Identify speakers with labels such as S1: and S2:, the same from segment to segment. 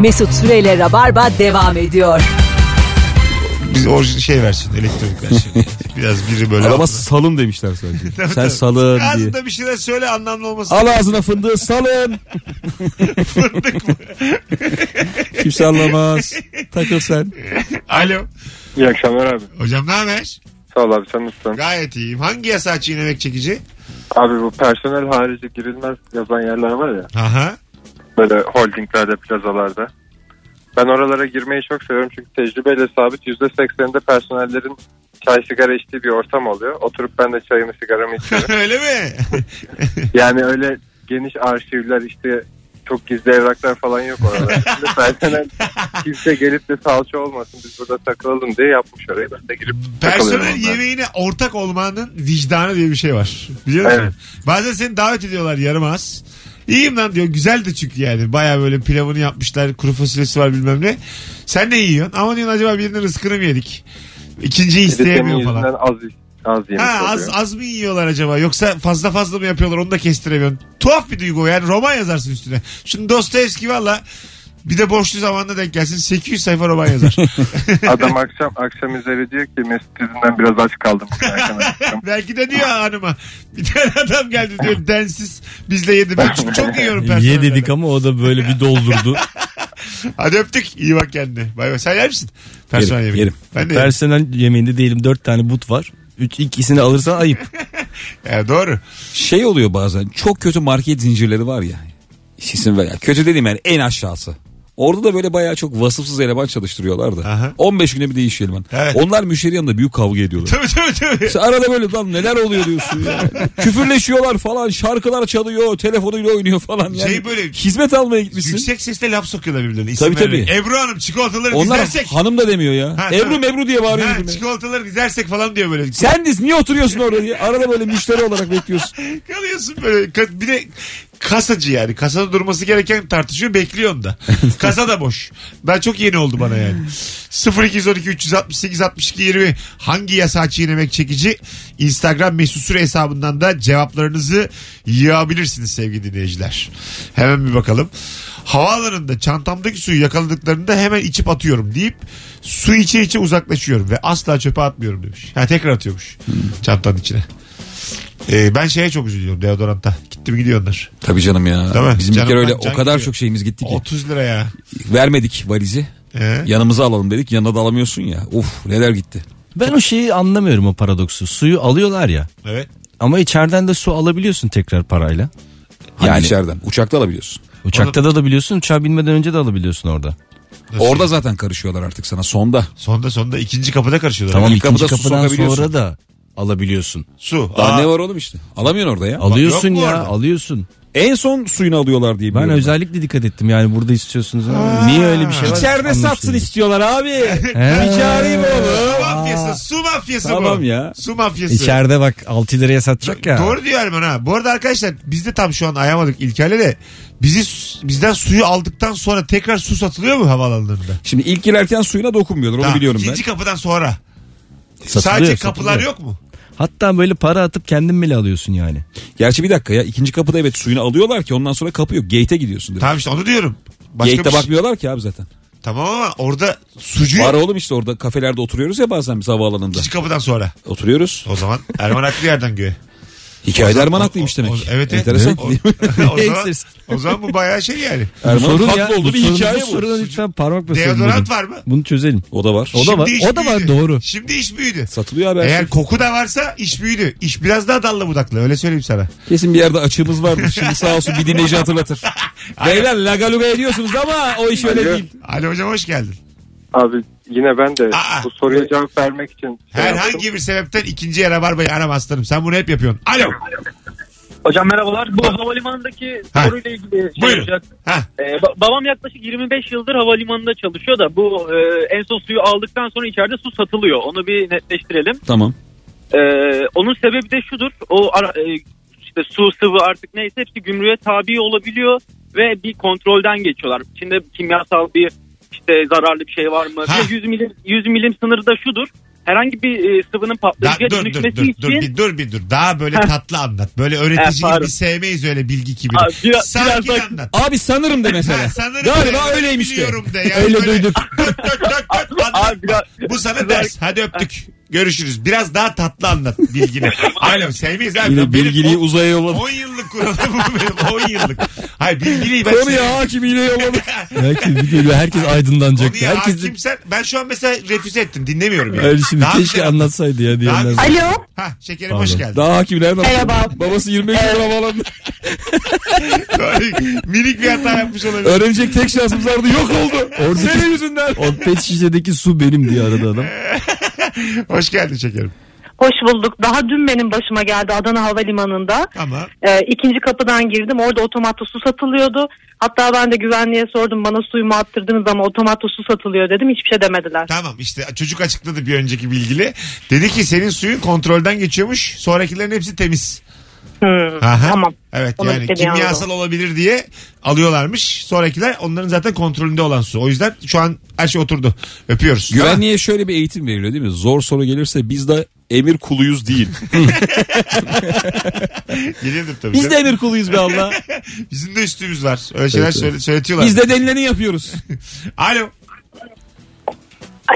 S1: Mesut Süreyle Rabarba devam ediyor.
S2: Biz orijin şey versin elektronik versin. Biraz biri böyle.
S3: Adama
S2: ağzına-
S3: salın demişler sadece.
S2: Tabii,
S3: Sen
S2: tabii.
S3: salın diye.
S2: Ağzında bir şeyler söyle anlamlı olmasın.
S3: Al ağzına fındığı salın. Kimse anlamaz. Takıl sen.
S2: Alo.
S4: İyi akşamlar abi.
S2: Hocam ne haber?
S4: Sağ ol abi sen nasılsın?
S2: Gayet iyiyim. Hangi yasağı çiğnemek çekici?
S4: Abi bu personel harici girilmez yazan yerler var ya.
S2: Aha.
S4: Böyle holdinglerde, plazalarda. Ben oralara girmeyi çok seviyorum çünkü tecrübeyle sabit %80'inde personellerin çay sigara içtiği bir ortam oluyor. Oturup ben de çayımı sigaramı içiyorum.
S2: Öyle mi?
S4: yani öyle geniş arşivler işte çok gizli evraklar falan yok orada. Şimdi personel kimse gelip de salça olmasın biz burada takılalım diye yapmış orayı. Ben de girip takılıyorum
S2: Personel
S4: ondan.
S2: yemeğine ortak olmanın vicdanı diye bir şey var. Biliyor musun?
S4: Evet.
S2: Bazen seni davet ediyorlar yarım az. İyiyim lan diyor. Güzel de çünkü yani. Baya böyle pilavını yapmışlar. Kuru fasulyesi var bilmem ne. Sen ne yiyorsun? Ama diyorsun acaba birinin rızkını mı yedik? İkinciyi
S4: Bir de senin
S2: isteyemiyor falan.
S4: yüzünden az, az yemiş
S2: Ha, az,
S4: oluyor.
S2: az mı yiyorlar acaba yoksa fazla fazla mı yapıyorlar onu da kestiremiyorsun. Tuhaf bir duygu o yani roman yazarsın üstüne. Şunu Dostoyevski valla bir de borçlu zamanda denk gelsin 800 sayfa roman yazar.
S4: Adam akşam akşam üzeri diyor ki Mesut yüzünden biraz aç kaldım. bugün akşam akşam."
S2: Belki de diyor hanıma bir tane adam geldi diyor densiz biz de yedi. Ben çünkü çok yiyorum personelden.
S3: Ye dedik ama o da böyle bir doldurdu.
S2: Hadi öptük iyi bak kendine. Bay bay sen yer misin? Personel
S3: yerim,
S2: yemeği.
S3: yerim.
S2: Ben de yerim.
S3: Personel yemeğinde diyelim dört tane but var. Üç, ikisini alırsan ayıp.
S2: Ya doğru.
S5: Şey oluyor bazen çok kötü market zincirleri var ya. Hiç İsim ver. ya. Kötü dediğim yani en aşağısı. Orada da böyle bayağı çok vasıfsız eleman çalıştırıyorlar da.
S2: Aha.
S5: 15 güne bir değişiyor eleman.
S2: Evet.
S5: Onlar müşteri yanında büyük kavga ediyorlar.
S2: Tabii tabii tabii.
S5: İşte arada böyle lan neler oluyor diyorsun ya. Küfürleşiyorlar falan şarkılar çalıyor telefonuyla oynuyor falan. Yani
S2: Şey böyle-
S5: Hizmet almaya gitmişsin.
S2: Yüksek sesle laf sokuyorlar birbirlerine. İsim
S5: Tabii, tabii.
S2: vererek. Ebru Hanım çikolataları
S5: Onlar
S2: dizersek.
S5: hanım da demiyor ya.
S2: Ha,
S5: Ebru
S2: tabii.
S5: mebru diye bağırıyor.
S2: Ha,
S5: birbirine.
S2: çikolataları dizersek falan diyor böyle.
S5: Sen diz niye oturuyorsun orada diye. Arada böyle müşteri olarak bekliyorsun.
S2: Kalıyorsun böyle. Ka- Bir de kasacı yani. Kasada durması gereken tartışıyor. Bekliyorsun da. Kasa da boş. Ben çok yeni oldu bana yani. 0212 368 62 20 hangi yasağı çiğnemek çekici? Instagram mesut süre hesabından da cevaplarınızı yığabilirsiniz sevgili dinleyiciler. Hemen bir bakalım. Havaalanında çantamdaki suyu yakaladıklarında hemen içip atıyorum deyip su içe içe uzaklaşıyorum ve asla çöpe atmıyorum demiş. Ha tekrar atıyormuş çantanın içine. Ee, ben şeye çok üzülüyorum deodoranta. Gitti mi gidiyor onlar.
S5: Tabii canım ya.
S2: Değil mi?
S5: Bizim
S2: Canım
S5: bir kere
S2: ben
S5: öyle
S2: can
S5: o kadar
S2: gidiyor.
S5: çok şeyimiz gitti ki.
S2: 30 lira ya.
S5: Vermedik valizi.
S2: Ee?
S5: Yanımıza alalım dedik. Yanına da alamıyorsun ya. Uf neler gitti.
S3: Ben o şeyi anlamıyorum o paradoksu. Suyu alıyorlar ya.
S2: Evet.
S3: Ama içeriden de su alabiliyorsun tekrar parayla.
S5: Hani
S3: Yani-
S5: içeriden. Uçakta alabiliyorsun.
S3: Uçakta da alabiliyorsun, uçağa binmeden önce de alabiliyorsun orada.
S2: Nasıl?
S5: Orada zaten karışıyorlar artık sana. Sonda.
S2: Sonda sonda ikinci kapıda karışıyorlar.
S3: Tamam
S5: ilk
S3: ikinci
S5: kapıda su
S3: kapıdan
S5: sokabiliyorsun.
S3: sonra da alabiliyorsun.
S2: Su.
S5: Daha
S2: Aa,
S5: ne var oğlum işte. Alamıyorsun orada ya.
S3: Alıyorsun
S2: yok mu
S3: ya,
S2: orada?
S3: alıyorsun.
S5: En son suyunu alıyorlar diye
S3: Ben
S5: biliyorum.
S3: özellikle dikkat ettim yani burada istiyorsunuz ama niye öyle bir şey var?
S5: İçeride
S3: Anlamış
S5: satsın
S3: değilim.
S5: istiyorlar abi.
S3: He.
S5: Bir çağırayım
S2: Su
S5: oğlum.
S2: mafyası. Su mafyası bu.
S5: Tamam ya.
S2: Su mafyası.
S3: İçeride bak 6 liraya satacak ya.
S2: Doğru diyor Erman ha. Bu arada arkadaşlar biz de tam şu an ayamadık İlker'le de. Bizi su- bizden suyu aldıktan sonra tekrar su satılıyor mu havaalanlarında?
S5: Şimdi ilk girerken suyuna dokunmuyorlar. Onu
S2: Tamam,
S5: biliyorum ben.
S2: İkinci kapıdan sonra.
S3: Satılıyor,
S2: Sadece kapılar
S3: satılıyor.
S2: yok mu?
S3: Hatta böyle para atıp kendin bile alıyorsun yani.
S5: Gerçi bir dakika ya. ikinci kapıda evet suyunu alıyorlar ki ondan sonra kapı yok. Gate'e gidiyorsun. direkt.
S2: Tamam işte onu diyorum. Başka
S5: Gate'e
S2: bir şey.
S5: bakmıyorlar ki abi zaten.
S2: Tamam ama orada sucu
S5: Var
S2: yok.
S5: oğlum işte orada kafelerde oturuyoruz ya bazen biz havaalanında.
S2: İkinci kapıdan sonra.
S5: Oturuyoruz.
S2: O zaman Erman haklı yerden göğe.
S5: Hikayede Erman
S2: O-
S5: haklıymış
S2: o-
S5: demek.
S2: o- Evet. evet.
S5: Enteresan.
S2: O, o zaman, o zaman bu bayağı şey yani.
S5: Erman'ın
S3: Sorun
S5: haklı
S3: ya,
S5: olduğu
S3: bu
S5: bir
S3: sorun-
S5: hikaye bu.
S3: soruna lütfen parmak basalım.
S2: Deodorant
S3: bugün.
S2: var mı?
S3: Bunu çözelim.
S5: O da var.
S3: O da var.
S2: Şimdi iş
S3: O da var
S2: büyüdü.
S3: doğru.
S2: Şimdi iş büyüdü.
S5: Satılıyor abi. her
S2: Eğer
S5: şey.
S2: koku da varsa iş büyüdü. İş biraz daha dallı budaklı öyle söyleyeyim sana.
S5: Kesin bir yerde açığımız vardır. Şimdi sağ olsun bir dinleyici hatırlatır. Beyler lagaluga ediyorsunuz ama o iş öyle
S4: Alo.
S5: değil.
S2: Ali hocam hoş geldin.
S4: Abi yine ben de
S2: Aa.
S4: bu soruya cevap vermek için şey yaptım.
S2: Herhangi bir sebepten ikinci yere barbayı arama aslanım. Sen bunu hep yapıyorsun. Alo.
S6: Hocam merhabalar. Bu havalimanındaki
S2: Ha.
S6: soruyla ilgili şey
S2: Buyurun.
S6: olacak.
S2: Ha,
S6: Ee, ba- babam yaklaşık 25 yıldır havalimanında çalışıyor da bu e, en son suyu aldıktan sonra içeride su satılıyor. Onu bir netleştirelim.
S5: Tamam.
S6: Ee, onun sebebi de şudur. O ara- e, işte su sıvı artık neyse hepsi gümrüğe tabi olabiliyor ve bir kontrolden geçiyorlar. İçinde kimyasal bir işte zararlı bir şey var mı?
S2: Ha.
S6: Bir de 100 milim 100 milim sınırı da şudur.
S5: herhangi bir e, sıvının
S2: Da,
S5: patlayıcıya
S2: dur, dur,
S5: dönüşmesi
S2: dur,
S5: için
S2: dur, bir, dur bir dur. Daha böyle tatlı anlat. Böyle öğretici
S5: Ha, pardon.
S2: gibi sevmeyiz öyle bilgi gibi.
S5: Abi, biraz-
S2: Sakin
S5: biraz daha-
S2: anlat.
S7: Abi sanırım de
S2: Ha,
S7: mesela.
S2: sanırım
S7: Galiba
S2: de,
S7: öyleymiş de.
S2: biliyorum de. Yani
S7: Öyle
S2: böyle
S7: duyduk.
S2: dök, dök, dök, dök, anlatma.
S5: Abi biraz-
S2: Bu sana
S5: biraz-
S2: ders. Hadi öptük. Görüşürüz. Biraz daha tatlı anlat bilgini. Alo sevmeyiz abi.
S7: Yine
S2: Benim
S7: bilgiliği
S2: on-
S7: uzaya yolladık.
S2: 10 yıllık kuralım bu benim 10 yıllık. Hayır bilgiliği ben
S7: Konuya hakim yine yolladık.
S3: Belki bir geliyor, herkes aydınlanacak.
S2: Konuya
S3: Herkes de-
S2: hakimsen ben şu an mesela refüze ettim dinlemiyorum yani.
S3: Öyle şimdi
S2: Daha
S3: keşke
S2: güzel-
S3: anlatsaydı ya
S2: Daha
S3: diyenler.
S2: güzel-
S3: var.
S8: Alo.
S2: Ha şekerim hoş
S3: Pardon.
S2: geldin.
S7: Daha hakimlerden.
S8: Merhaba.
S7: Babası 25 yıl havalandı.
S2: Minik bir hata yapmış olabilir.
S7: Öğrenecek tek şansımız vardı yok oldu.
S3: Oradaki-
S7: Senin yüzünden.
S3: O pet şişedeki su benim diye aradı adam.
S2: Hoş geldin şekerim.
S8: Hoş bulduk. Daha dün benim başıma geldi Adana Havalimanı'nda.
S2: Ama
S8: Ee, ikinci kapıdan girdim. Orada otomatta su satılıyordu. Hatta ben de güvenliğe sordum bana suyumu attırdınız ama otomatta su satılıyor dedim. Hiçbir şey demediler.
S2: tamam işte çocuk açıkladı bir önceki bilgili. Dedi ki senin suyun kontrolden geçiyormuş. Sonrakilerin hepsi temiz.
S8: Hmm,
S2: Aha.
S8: Tamam.
S2: Evet
S8: Onu
S2: yani
S8: istediği
S2: kimyasal olabilir diye alıyorlarmış. Sonrakiler onların zaten kontrolünde olan su. O yüzden şu an her şey oturdu. Öpüyoruz.
S7: Güvenliğe şöyle bir eğitim veriliyor değil mi? Zor soru gelirse biz de emir kuluyuz değil.
S2: Gelirdim tabii.
S7: biz de
S2: canım.
S7: emir kuluyuz be Allah.
S2: Bizim de üstümüz var. Öyle şeyler
S7: Evet, evet.
S2: söyle- söyletiyorlar.
S7: Biz de denileni yapıyoruz.
S2: Alo.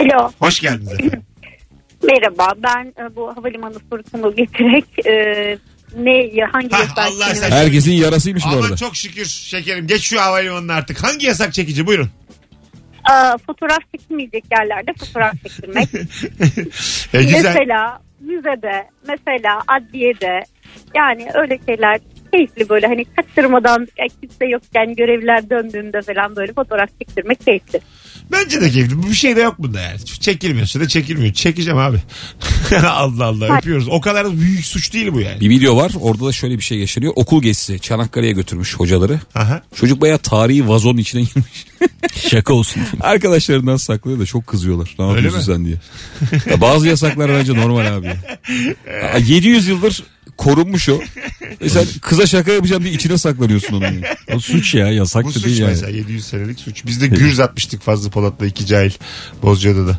S9: Alo
S2: Hoş geldiniz efendim.
S9: merhaba ben e, bu havalimanı sorusumu getirerek e, ne ya- hangi
S2: Hah,
S9: yasak
S2: Allah
S9: günü-
S2: sen-
S7: Herkesin yarasıymış bu
S2: Ama
S7: arada.
S2: çok şükür şekerim. Geç şu havalimanına artık. Hangi yasak çekici? Buyurun.
S9: Aa, fotoğraf çekilmeyecek yerlerde fotoğraf çekilmek.
S2: E, güzel.
S9: Mesela müzede, mesela adliyede yani öyle şeyler keyifli böyle hani kaçırmadan e, kimse yokken görevliler döndüğünde falan böyle fotoğraf çektirmek keyifli.
S2: Bence de keyifli. Bir şey de yok bunda yani. Çekilmiyorsa da çekilmiyor. Çekeceğim abi. Allah Allah öpüyoruz. O kadar büyük suç değil bu yani.
S7: Bir video var orada da şöyle bir şey yaşanıyor. Okul gezisi Çanakkale'ye götürmüş hocaları.
S2: Aha.
S7: Çocuk bayağı tarihi vazonun içine girmiş.
S3: Şaka olsun.
S7: Arkadaşlarından saklıyor da çok kızıyorlar. Ne
S2: Öyle
S7: yapıyorsun sen diye. Ya bazı yasaklar bence normal abi. Ya 700 yıldır korunmuş o. E sen kıza şaka yapacağım diye içine saklanıyorsun onu. ya.
S3: O suç ya yasak
S2: Bu
S3: da
S2: suç
S3: değil yani.
S2: mesela 700 senelik suç. Biz de gürz atmıştık Fazlı Polat'la iki cahil Bozcaada'da.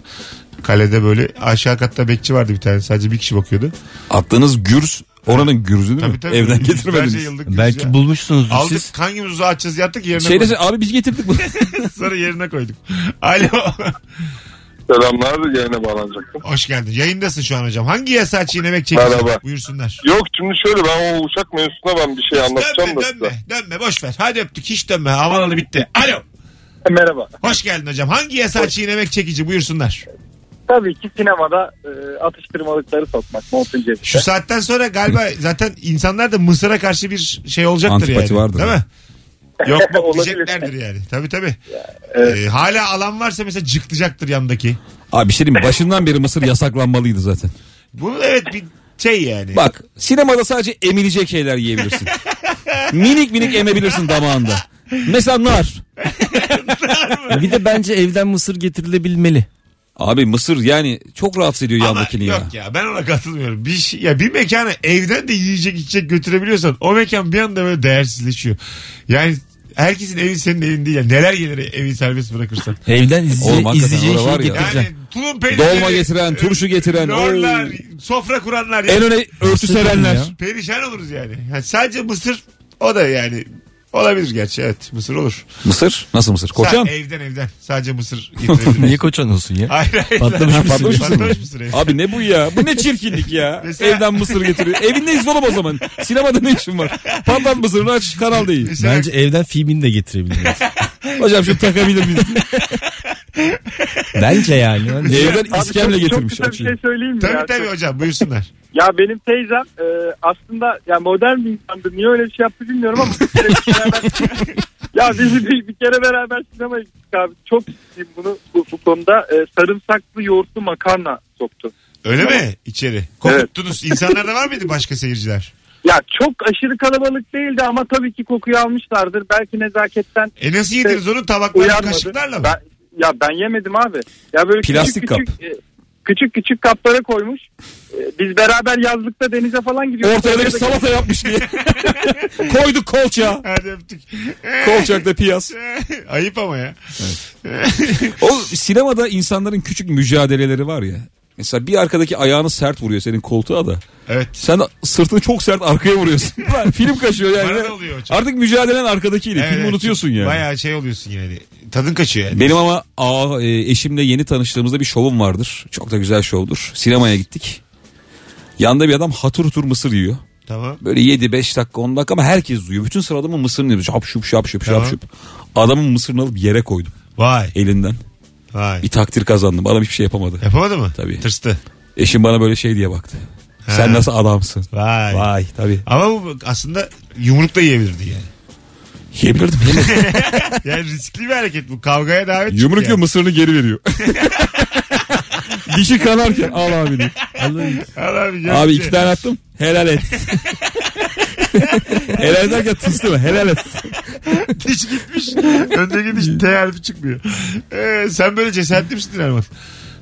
S2: Kalede böyle aşağı katta bekçi vardı bir tane. Sadece bir kişi bakıyordu.
S7: Attığınız gürz oranın gürzü değil mi?
S2: Tabii tabii.
S7: Evden
S2: Yüzlerce
S7: getirmediniz.
S2: yıllık gürz ya.
S3: Belki bulmuşsunuzdur
S2: Aldık
S3: siz.
S2: hangimiz uzağa açacağız yattık yerine
S7: Şey
S2: koyduk.
S7: dese, abi biz getirdik bunu.
S2: Sonra yerine koyduk. Alo.
S4: Selamlar yayına bağlanacaktım.
S2: Hoş geldin. Yayındasın şu an hocam. Hangi yasağı çiğnemek çekecek?
S4: Merhaba.
S2: Buyursunlar.
S4: Yok şimdi şöyle ben o uçak mevzusuna ben bir şey anlatacağım da
S2: Dönme
S4: size.
S2: dönme. Dönme boş ver. Hadi öptük. Hiç dönme. Havalalı bitti. Alo.
S6: E, Merhaba.
S2: Hoş geldin hocam. Hangi yasağı çiğnemek çekici? Buyursunlar.
S6: Tabii ki sinemada e, atıştırmalıkları satmak. Montun cebinde.
S2: Şu saatten sonra galiba zaten insanlar da Mısır'a karşı bir şey olacaktır
S7: Antipati
S2: yani.
S7: vardır.
S2: Değil mi? Yok yok
S6: Olabilir.
S2: diyeceklerdir yani. Tabii tabii.
S6: evet.
S2: Ee, hala alan varsa mesela cıklayacaktır yandaki.
S7: abi bir şey diyeyim mi? başından beri Mısır yasaklanmalıydı zaten.
S2: Bu evet bir şey yani.
S7: Bak sinemada sadece emilecek şeyler yiyebilirsin. minik minik emebilirsin damağında. Mesela nar.
S3: Bir de bence evden mısır getirilebilmeli.
S7: Abi mısır yani çok rahatsız ediyor
S2: Ama
S7: yandakini ya.
S2: yok ya ben ona katılmıyorum. Bir şey, ya bir mekana evden de yiyecek içecek götürebiliyorsan o mekan bir anda böyle değersizleşiyor. Yani herkesin evi senin evin değil. ya. Neler gelir evi serbest bırakırsan.
S3: Evden
S7: Oğlum
S3: izleyeceği
S7: hakikaten
S3: izleyeceğin
S7: orada
S3: şeyi
S7: var ya.
S3: getireceğim.
S2: Yani tulum peynirleri.
S7: Dolma getiren, turşu getiren.
S2: Lorlar,
S7: oy.
S2: sofra kuranlar.
S7: En öne örtü serenler.
S3: Ya.
S2: Perişan oluruz yani. yani. Sadece mısır o da yani olabilir gerçi evet mısır olur.
S7: Mısır? Nasıl mısır? Koçam?
S2: Sa- evden evden sadece mısır
S3: Niye
S2: getirebilir.
S3: koçan olsun ya?
S2: hayır hayır.
S3: Patlamış mısır.
S7: Patlamış mısır.
S2: Patlamış mısır evet.
S7: Abi ne bu ya? Bu ne çirkinlik ya?
S2: Mesela-
S7: Evden mısır getiriyor. Evindeyiz oğlum o zaman. Sinemada ne işin var? Patlat mısırını aç kanal değil.
S2: Mesela
S3: Bence evden filmini de getirebiliriz.
S7: Hocam şu takabilir miyiz?
S3: Bence yani.
S7: Evden iskemle
S6: çok,
S7: getirmiş.
S6: Çok güzel bir şey söyleyeyim mi?
S2: Tabii
S6: ya?
S2: tabii
S6: Çok-
S2: hocam buyursunlar.
S6: Ya benim teyzem e, aslında ya modern bir insandı. Niye öyle bir şey yaptı bilmiyorum ama. bir kere beraber- ya biz bir, bir kere beraber sinemaya gittik abi. Çok ciddiyim bunu bu, bu konuda. E, sarımsaklı yoğurtlu makarna soktu.
S2: Öyle mi içeri? Kokuttunuz. İnsanlarda var mıydı başka seyirciler?
S6: Ya çok aşırı kalabalık değildi ama tabii ki kokuyu almışlardır. Belki nezaketten
S2: E nasıl yediniz onu tabaklarla
S6: uyarmadı.
S2: kaşıklarla mı?
S6: Ben, ya ben yemedim abi. Ya böyle
S7: Plastik
S6: küçük, Küçük, e, küçük küçük kaplara koymuş. E, Biz beraber yazlıkta denize falan gidiyoruz.
S7: Ortaya da bir salata yapmış diye. Koyduk kolça.
S2: Hadi öptük.
S7: Kolçakta piyaz.
S2: Ayıp ama ya.
S7: O sinemada insanların küçük mücadeleleri var ya. Mesela bir arkadaki ayağını sert vuruyor senin koltuğa da.
S2: Evet.
S7: Sen sırtını çok sert arkaya vuruyorsun. Lan film kaçıyor yani.
S2: Bana da oluyor hocam.
S7: Artık mücadelen arkadakiyle.
S2: Evet,
S7: E, Filmi
S2: evet.
S7: unutuyorsun yani.
S2: Bayağı şey oluyorsun yani. Tadın kaçıyor yani.
S7: Benim ama aa, e, eşimle yeni tanıştığımızda bir şovum vardır. Çok da güzel şovdur. Sinemaya gittik. Yanda bir adam hatır hutur mısır yiyor.
S2: Tamam.
S7: Böyle 7 5 dakika 10 dakika ama herkes duyuyor. Bütün sıralamı mısırını yiyor. Şap şup şap şup şap
S2: Tamam.
S7: şup. Adamın mısırını alıp yere koydum
S2: Vay.
S7: elinden.
S2: Vay.
S7: Bir takdir kazandım. Adam hiçbir şey yapamadı.
S2: Yapamadı mı?
S7: Tabii.
S2: Tırstı.
S7: Eşim bana böyle şey diye baktı.
S2: Ha.
S7: Sen nasıl adamsın?
S2: Vay.
S7: Vay tabii.
S2: Ama bu aslında yumruk da yiyebilirdi yani.
S7: Yiyebilirdim.
S2: Yani riskli bir hareket bu. Kavgaya davet.
S7: Yumruk
S2: yani.
S7: yiyor mısırını geri veriyor. Dişi kanarken al abi diyor.
S2: Al abi, gel
S7: Abi
S2: bize.
S7: iki tane attım. Helal et. helal ederken tıslama. Helal et.
S2: Diş gitmiş. Öndeki diş T harfi çıkmıyor. Ee, sen böyle cesaretli misin Erman?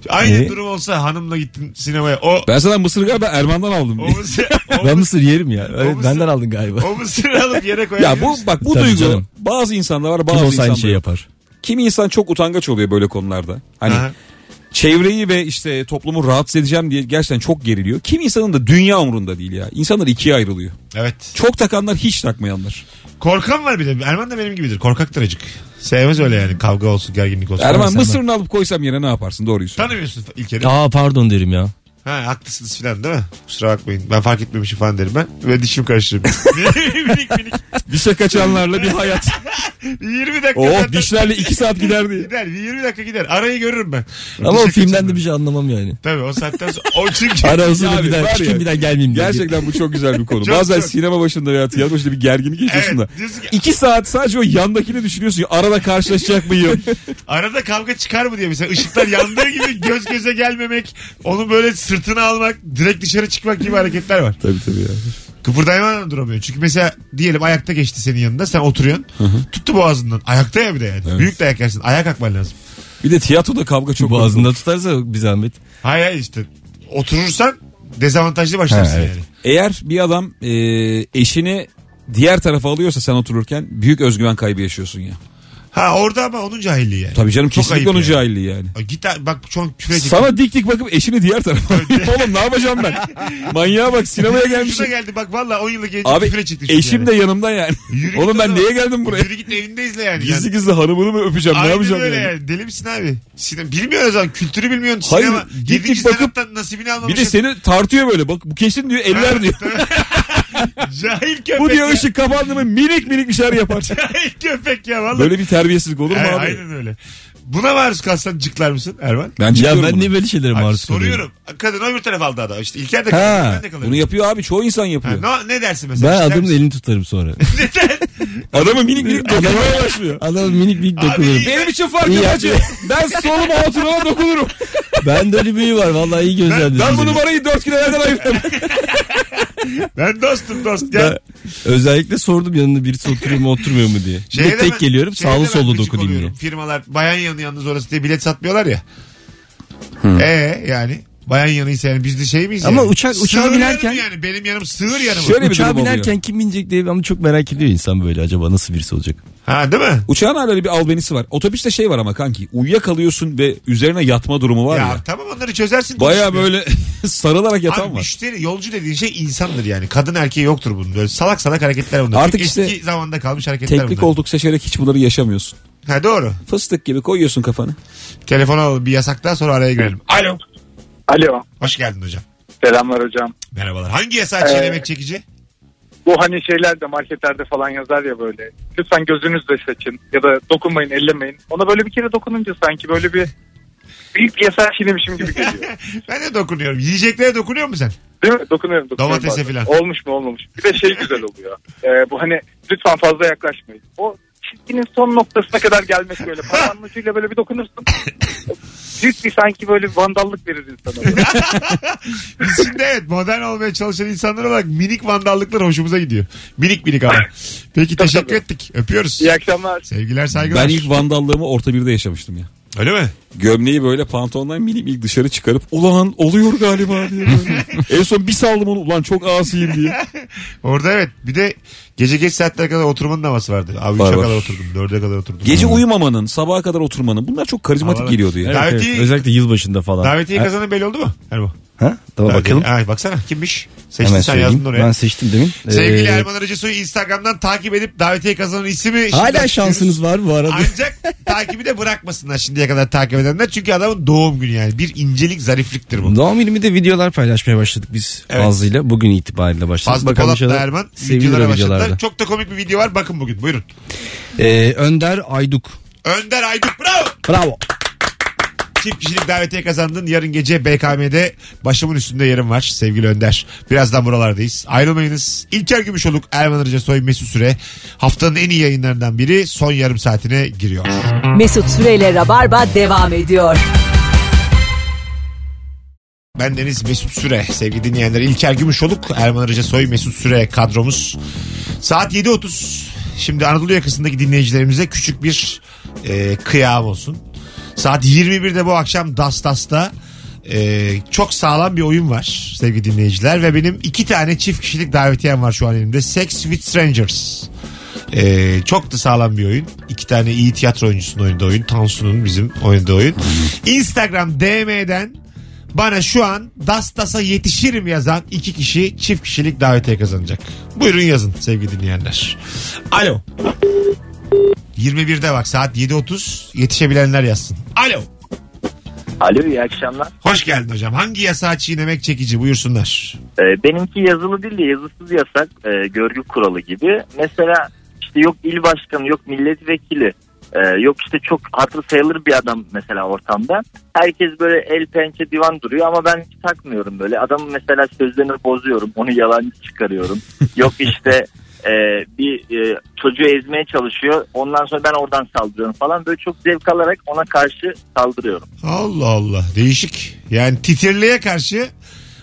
S2: Aynı
S7: E?
S3: Ee?
S2: durum olsa hanımla gittin sinemaya. O,
S7: Ben sana mısır galiba Erman'dan aldım.
S2: o, mısır, o,
S3: Ben mısır yerim ya. Evet,
S2: mısır-
S3: benden aldın galiba.
S2: o mısırı alıp yere koyabilir
S7: ya bu
S2: misin?
S7: bak bu
S3: Tabii
S7: duygu
S3: canım.
S7: bazı insanda var
S3: Kim
S7: bazı
S3: olsa
S7: insanda
S3: aynı şey
S7: yok.
S3: yapar.
S7: Kimi insan çok utangaç oluyor böyle konularda. Hani
S2: Aha.
S7: çevreyi ve işte toplumu rahatsız edeceğim diye gerçekten çok geriliyor. Kim insanın da dünya umurunda değil ya. İnsanlar ikiye ayrılıyor.
S2: Evet.
S7: Çok takanlar hiç takmayanlar.
S2: Korkan var bir de. Erman da benim gibidir. Korkaktır acık. Sevmez öyle yani. Kavga olsun, gerginlik olsun.
S7: Erman
S3: sen
S7: mısırını alıp koysam yere ne yaparsın doğruyu söyle.
S2: Tanımıyorsun İlker'i.
S3: Aa pardon derim ya.
S2: Ha haklısınız filan değil mi? Kusura bakmayın. Ben fark etmemişim falan derim ben. Ve dişim karıştırır. minik minik.
S7: Dişe kaçanlarla bir hayat.
S2: 20 dakika.
S7: oh
S2: zaten-
S7: dişlerle iki saat gider diye.
S2: Gider. Bir 20 dakika gider. Arayı görürüm ben.
S3: Ama o
S2: Dişe
S3: filmden de
S2: kaçırmam.
S3: bir şey anlamam yani.
S2: Tabii o saatten sonra. O çünkü.
S3: Ara uzun
S7: Abi,
S3: bir
S7: var
S3: daha
S7: ya.
S3: çıkayım bir daha gelmeyeyim diye.
S7: Gerçekten bu çok güzel bir konu.
S2: Çok,
S7: Bazen
S2: çok.
S7: sinema başında veya tiyatro başında bir gerginlik yaşıyorsun
S2: Evet,
S7: da.
S2: diyorsun ki-
S7: İki saat sadece o yandakini düşünüyorsun. ya, Arada karşılaşacak mıyım?
S2: Arada kavga çıkar mı diye mesela ışıklar yandığı gibi göz göze gelmemek, onu böyle sırtına almak, direkt dışarı çıkmak gibi hareketler var.
S7: tabii tabii ya.
S2: Kıpırdaymadan da duramıyor. Çünkü mesela diyelim ayakta geçti senin yanında, sen oturuyorsun. Tuttu boğazından. Ayakta ya bir de yani. Büyük dayak yersin. Ayak akman lazım.
S7: Bir de tiyatroda kavga çok.
S3: Boğazında tutarsa bir zahmet.
S2: Hayır hayır işte. Oturursan dezavantajlı başlarsın
S3: Ha, evet.
S2: yani.
S7: Eğer bir adam e, eşini diğer tarafa alıyorsa sen otururken büyük özgüven kaybı yaşıyorsun ya.
S2: Ha orada ama onun cahilliği yani.
S7: Tabii canım
S2: Çok ayıp
S7: kesinlikle onun
S2: yani.
S7: cahilliği yani.
S2: Ay, Git a- bak şu an küfür edecek.
S7: Sana dik dik bakıp eşini diğer tarafa alıyor. Oğlum ne yapacağım ben? Manyağa bak sinemaya gelmişim.
S2: Şuna geldi bak valla 10 yıllık gelince küfür
S7: Abi
S2: edecektim. şimdi
S7: eşim
S2: yani.
S7: de yanımda yani.
S2: Yürü git
S7: Oğlum
S2: o
S7: ben
S2: zaman.
S7: niye geldim buraya?
S2: Yürü git evinde izle yani. yani.
S7: Gizli gizli hanımını mı öpeceğim? ne
S2: Aynen
S7: yapacağım
S2: öyle
S7: yani?
S2: yani. Deli misin abi? Sinem, bilmiyorsun o zaman. Kültürü bilmiyorsun.
S7: Hayır,
S2: Sinema.
S7: git
S2: Yedinci
S7: git bakıp-
S2: sanattan nasibini
S7: Bir
S2: almamışsın.
S7: de seni tartıyor böyle. Bak bu kesin diyor eller diyor.
S2: Cahil köpek
S7: bu
S2: ya.
S7: diyor ışık kapandı mı minik minik bir şeyler yapar.
S2: Cahil köpek ya valla.
S7: böyle bir terbiyesizlik olur mu
S2: Ay-
S7: abi?
S2: Aynen öyle. Buna maruz kalsan cıklar mısın Erman?
S7: Ben
S3: Ya
S7: çıkıyorum
S3: ben
S7: bunu.
S3: niye böyle şeylere
S2: Abi,
S3: maruz kalıyorum?
S2: soruyorum. Kadın öbür tarafa aldı adam. İşte İlker de kalır.
S7: Ha,
S2: Ben de kalırım.
S7: bunu yapıyor abi çoğu insan
S2: Ha,
S7: yapıyor.
S2: no- ne dersin mesela?
S3: Ben
S2: İster
S3: adamın
S2: misin?
S3: elini tutarım sonra.
S7: Adamı minik minik dokunmaya başlıyor.
S3: Adam minik minik
S2: Abi,
S3: dokunurum.
S2: iyi-
S7: Benim için fark
S3: İyi
S7: yok
S3: yaptı.
S7: hacı. Ben solum altına dokunurum.
S3: Ben de öyle büyü var. Vallahi iyi gözlemledim.
S7: Ben bu
S3: seni.
S7: numarayı dört kilometreden ayırdım.
S2: Ben dostum dost. Gel.
S3: Ben özellikle sordum yanında birisi oturuyor mu oturmuyor mu diye. Bir de
S2: Şeyde
S3: tek
S2: ben-
S3: geliyorum
S2: şeyde
S3: sağlı
S2: ben
S3: sollu
S2: gıcık
S3: dokunayım diye.
S2: oluyorum. Firmalar bayan yanı yalnız orası diye bilet satmıyorlar ya. Ee yani bayan yanıysa yani biz de şey miyiz
S3: Ama
S2: yani?
S3: uçak- uçağa
S2: Sığır
S3: binerken-
S2: yanım yani benim yanım sığır yanım.
S7: Şöyle- bir
S3: Uçağa
S7: durum oluyor.
S3: binerken kim binecek diye ama çok merak ediyor insan böyle acaba nasıl birisi olacak.
S2: Ha değil mi?
S7: Uçağın hala bir albenisi var. Otobüste şey var ama kanki. Uyuyakalıyorsun ve üzerine yatma durumu var
S2: Ya,
S7: ya.
S2: tamam onları çözersin.
S7: Baya
S2: konuşmuyor.
S7: böyle sarılarak
S2: Abi
S7: yatan var.
S2: müşteri yolcu dediğin şey insandır yani. Kadın erkeği yoktur bunun. Böyle salak salak hareketler bunlar.
S7: Artık
S2: Çok
S7: işte
S2: eski zamanda kalmış hareketler
S7: Teknik
S2: bunlar.
S7: koltuk seçerek hiç bunları yaşamıyorsun.
S2: Ha doğru.
S7: Fıstık gibi koyuyorsun kafanı.
S2: Telefon alalım bir yasaktan sonra araya girelim. Alo.
S6: Alo.
S2: Hoş geldin hocam.
S6: Selamlar hocam.
S2: Merhabalar. Hangi yasağı çiğnemek çekici?
S6: Bu hani şeyler de marketlerde falan yazar ya böyle. Lütfen gözünüzle seçin ya da dokunmayın ellemeyin. Ona böyle bir kere dokununca sanki böyle bir büyük bir yasak çiğnemişim gibi geliyor.
S2: Ben de dokunuyorum. Yiyeceklere dokunuyor musun sen?
S6: Değil mi? Dokunuyorum. dokunuyorum
S2: Domatese
S6: bazen.
S2: filan.
S6: Olmuş mu olmamış. Bir de şey güzel oluyor. Ee, bu hani lütfen fazla yaklaşmayın. O çizginin son noktasına kadar gelmek böyle. Parmağın ucuyla böyle bir dokunursun. Büyük bir sanki böyle bir vandallık verir insana.
S2: Biz şimdi evet modern olmaya çalışan insanlar olarak minik vandallıklar hoşumuza gidiyor. Minik minik ama. Peki teşekkür ettik. Öpüyoruz.
S6: İyi akşamlar.
S2: Sevgiler saygılar.
S7: Ben ilk vandallığımı orta birde yaşamıştım ya.
S2: Öyle mi?
S7: Gömleği böyle pantolondan minik minik dışarı çıkarıp ulan oluyor galiba diye böyle. en son bir saldım onu ulan çok asiyim diye.
S2: Orada evet. Bir de gece geç saatlere kadar oturmanın havası vardı. Abi 3'e
S7: Var, var.
S2: kadar oturdum. 4'e kadar oturdum.
S7: Gece uyumamanın sabaha kadar oturmanın bunlar çok karizmatik
S2: Vallahi.
S7: geliyordu ya.
S2: Evet. Davetiye-
S3: Özellikle yılbaşında falan.
S2: Davetiye
S3: Ha-
S2: kazanan belli oldu mu? Erman.
S3: Ha? Tamam
S2: Davetiye-
S3: bakalım.
S2: Ay, baksana kimmiş? Seçtin
S3: Hemen
S2: sen yazdın
S3: söyleyeyim.
S2: oraya.
S3: Ben seçtim demin.
S2: Sevgili
S3: Ee,
S2: Erman Arıcısoy'u Instagram'dan takip edip davetiye kazanan ismi... şimdi
S3: Hala
S2: açıyoruz.
S3: şansınız var bu arada.
S2: Ancak takibi de bırakmasınlar şimdiye kadar takip edenler. Çünkü adamın doğum günü yani. Bir incelik zarifliktir bu.
S3: Doğum günümü de videolar paylaşmaya başladık biz
S2: Evet.
S3: fazlıyla. Bugün itibariyle başladık.
S2: Fazlı Polat da Erman
S3: sevilir
S2: videolara
S3: o videolarda.
S2: başladılar. Çok da komik bir video var. Bakın bugün buyurun.
S3: Ee, Önder Ayduk.
S2: Önder Ayduk bravo.
S3: Bravo.
S2: Çift kişilik davetiye kazandın. Yarın gece BKM'de başımın üstünde yerim var sevgili Önder. Birazdan buralardayız. Ayrılmayınız. İlker Gümüşoluk, Erman Arıca Soy, Mesut Süre. Haftanın en iyi yayınlarından biri son yarım saatine giriyor.
S1: Mesut Süreyle Rabarba devam ediyor.
S2: Ben Deniz Mesut Süre. Sevgili dinleyenler İlker Gümüşoluk, Erman Arıca Soy, Mesut Süre kadromuz. Saat 7.30. Şimdi Anadolu yakasındaki dinleyicilerimize küçük bir e, kıyam olsun. Saat 21'de bu akşam Das Das'ta e, çok sağlam bir oyun var sevgili dinleyiciler. Ve benim iki tane çift kişilik davetiyem var şu an elimde. Sex with Strangers. Ee, çok da sağlam bir oyun. İki tane iyi tiyatro oyuncusunun oynadığı oyun. Tansu'nun bizim oynadığı oyun. Instagram DM'den bana şu an Dastas'a yetişirim yazan iki kişi çift kişilik davetiye kazanacak. Buyurun yazın sevgili dinleyenler. Alo. 21'de bak saat 7.30 yetişebilenler yazsın. Alo.
S6: Alo iyi akşamlar.
S2: Hoş geldin hocam. Hangi yasağı çiğnemek çekici buyursunlar.
S6: Ee, benimki yazılı değil de yazısız yasak e, görgü kuralı gibi. Mesela işte yok il başkanı yok milletvekili e, yok işte çok hatır sayılır bir adam mesela ortamda. Herkes böyle el pençe divan duruyor ama ben hiç takmıyorum böyle. Adamın mesela sözlerini bozuyorum onu yalancı çıkarıyorum. yok işte e, bir e, çocuğu ezmeye çalışıyor ondan sonra ben oradan saldırıyorum falan. Böyle çok zevk alarak ona karşı saldırıyorum.
S2: Allah Allah değişik. Yani titirliğe karşı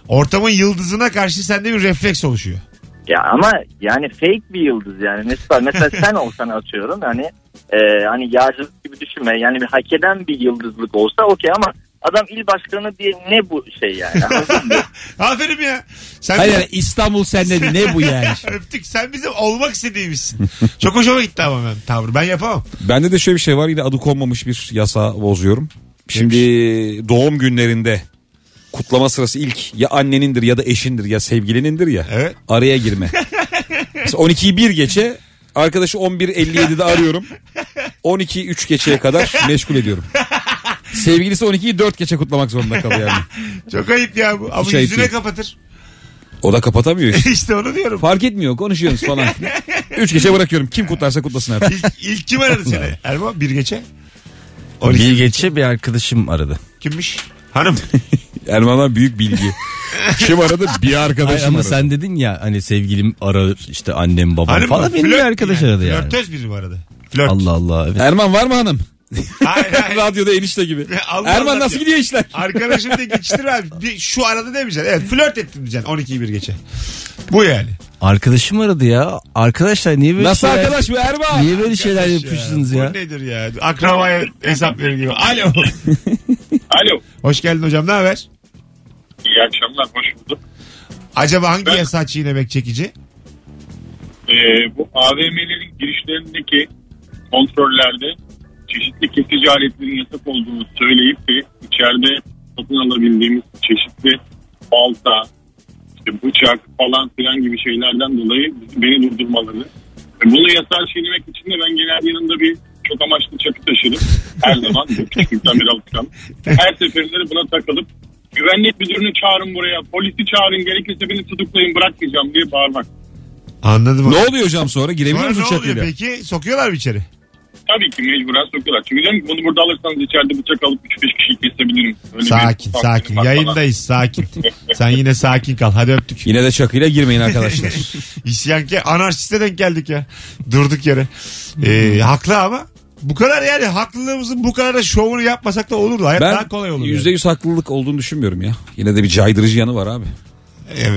S2: ortamın yıldızına karşı sende bir refleks oluşuyor.
S6: Ya ama yani fake bir yıldız yani. Mesela, mesela sen olsan atıyorum hani e, hani yağcılık gibi düşünme. Yani bir hak eden bir yıldızlık olsa okey ama adam il başkanı diye ne bu şey yani? Anladın mı?
S2: Aferin ya. Sen
S7: Hayır yani İstanbul sende ne bu yani?
S2: Öptük. Sen bizim olmak istediğimizsin. Çok hoşuma gitti ama ben tavrı. Ben yapamam.
S7: Bende de şöyle bir şey var yine adı konmamış bir yasa bozuyorum. Şimdi doğum günlerinde kutlama sırası ilk ya annenindir ya da eşindir ya sevgilinindir ya.
S2: Evet.
S7: Araya girme. Mesela 12'yi 1 geçe arkadaşı 11.57'de arıyorum. 12'yi 3 geçeye kadar meşgul ediyorum. Sevgilisi 12'yi 4 geçe kutlamak zorunda kalıyor yani.
S2: Çok ayıp ya bu. Ama
S7: Hiç ayıp
S2: yüzüne
S7: değil.
S2: kapatır.
S7: O da kapatamıyor işte.
S2: işte onu diyorum.
S7: Fark etmiyor konuşuyoruz falan. 3 geçe bırakıyorum. Kim kutlarsa kutlasın artık.
S2: İlk, ilk kim aradı seni? Erman bir geçe. 12
S3: Bir geçe bir arkadaşım aradı.
S2: kimmiş? Hanım.
S7: Erman'dan büyük bilgi. Kim aradı? Bir arkadaşım
S3: Hayır, ama
S7: aradı.
S3: sen dedin ya hani sevgilim arar işte annem babam
S2: Hanım
S3: falan.
S2: mı?
S3: Benim bir
S2: Hani Flört
S3: arkadaş aradı yani.
S2: Flörtöz biri mi aradı? Flört.
S3: Allah Allah. Evet.
S7: Erman var mı hanım?
S2: Hayır, hayır.
S7: Radyoda enişte gibi.
S2: Allah
S7: Erman
S2: Allah
S7: nasıl
S2: diyor.
S7: gidiyor işler?
S2: Arkadaşım diye geçiştir abi. Bir, şu arada demeyeceksin. Evet flört ettim diyeceksin 12'yi bir geçe. Bu yani.
S3: Arkadaşım aradı ya. Arkadaşlar niye böyle
S7: Nasıl
S3: şeyler,
S7: arkadaş bu Erman?
S3: Niye böyle şeyler
S2: Arkadaş
S3: yapıyorsunuz ya?
S2: Bu nedir ya? Akrabaya hesap verir gibi. Alo.
S6: Alo
S2: Hoş geldin hocam ne haber?
S6: iyi akşamlar hoş bulduk.
S2: Acaba hangi yasa çiğnemek çekici?
S6: Ee, bu AVM'lerin girişlerindeki kontrollerde çeşitli kesici aletlerin yasak olduğunu söyleyip de içeride satın alabildiğimiz çeşitli balta, işte bıçak falan filan gibi şeylerden dolayı beni durdurmaları. E, Bunu yasal çiğnemek için de ben genelde yanımda bir çok amaçlı çakı taşırım. Her zaman bu küçüklükten beri alışkan. Her seferinde de buna takılıp güvenlik müdürünü çağırın buraya, polisi çağırın, gerekirse beni tutuklayın bırakmayacağım diye bağırmak.
S2: Anladım.
S7: Ne oluyor hocam sonra? Girebiliyor
S2: Sonra ne
S7: musun
S2: oluyor
S7: çakıyla?
S2: peki? Sokuyorlar mı içeri?
S6: Tabii ki mecburen sokuyorlar. Çünkü diyorum ki bunu burada alırsanız içeride bıçak alıp 3-5 kişiyi kesebilirim. Öyle bir
S2: sakin
S6: takdirim
S2: sakin.
S6: var falan.
S2: Yayındayız sakin. Sen yine sakin kal. Hadi öptük.
S7: Yine de çakıyla girmeyin arkadaşlar.
S2: İsyankar anarşiste denk geldik ya. Durduk yere. Ee, haklı ama. Bu kadar yani haklılığımızın bu kadar da şovunu yapmasak da olurdu. Hayat
S7: ben
S2: daha kolay olur. yani.
S7: %100 haklılık olduğunu düşünmüyorum ya. Yine de bir caydırıcı yanı var abi.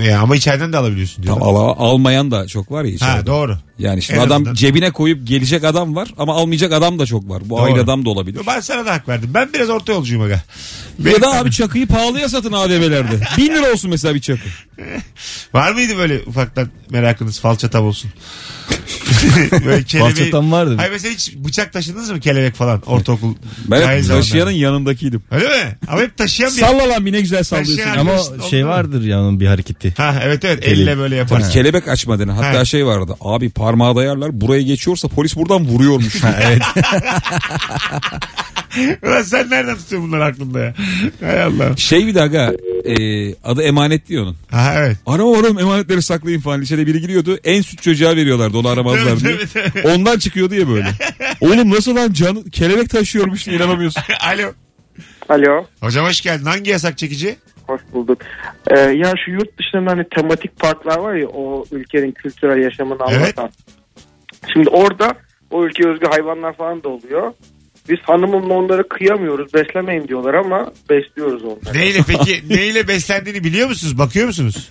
S2: E, ama içeriden de alabiliyorsun diyor.
S7: Tam al- almayan da çok var ya içeride.
S2: Ha doğru.
S7: Yani şimdi
S2: En
S7: adam
S2: azından.
S7: cebine koyup gelecek adam var ama almayacak adam da çok var. Bu
S2: Doğru.
S7: aile adam da olabilir.
S2: Ben sana da hak verdim. Ben biraz orta yolcuyum aga.
S7: Ya
S2: Benim-
S7: da E abi çakıyı pahalıya satın AVM'lerde. 1000 lira olsun mesela bir çakı.
S2: Var mıydı böyle ufaktan merakınız falçatam olsun? böyle kelebeği...
S3: Falçatam vardı.
S2: Hayır mesela hiç bıçak taşıdınız mı kelebek falan ortaokul?
S7: Ben
S2: dahil
S7: hep
S2: zamanlarda?
S7: taşıyanın yanındakiydim.
S2: Öyle mi? Ama hep taşıyan bir...
S7: Salla lan bir ne güzel sallıyorsun.
S2: Taşıyan-
S3: Ama
S2: Arkadaşlar,
S3: şey
S2: oldu mu?
S3: vardır ya onun bir hareketi.
S2: Ha evet evet
S3: Kele-
S2: elle böyle
S7: Bak,
S2: yaparsın.
S7: kelebek açmadığını hatta
S2: Ha.
S7: şey vardı abi parmağı dayarlar buraya geçiyorsa polis buradan vuruyormuş. evet.
S2: Ulan sen nereden tutuyorsun bunları aklında ya? Hay Allah.
S7: Şey bir dakika e, adı emanet diyor onun.
S2: Ha evet.
S7: Arama oğlum emanetleri saklayın falan. İçeri biri giriyordu. En süt çocuğa veriyorlardı onu aramazlar diye.
S2: Evet, evet,
S7: Ondan çıkıyordu ya böyle. oğlum nasıl lan can kelebek taşıyormuş diye inanamıyorsun.
S2: Alo.
S6: Alo.
S2: Hocam hoş geldin. Hangi yasak çekici?
S6: Hoş bulduk. Ee, ya şu yurt dışında hani tematik parklar var ya o ülkenin kültürel yaşamını
S2: Evet.
S6: anlatan. Şimdi orada o ülke özgü hayvanlar falan da oluyor. Biz hanımımla onları kıyamıyoruz beslemeyin diyorlar ama besliyoruz onları.
S2: Neyle peki neyle beslendiğini biliyor musunuz? Bakıyor musunuz?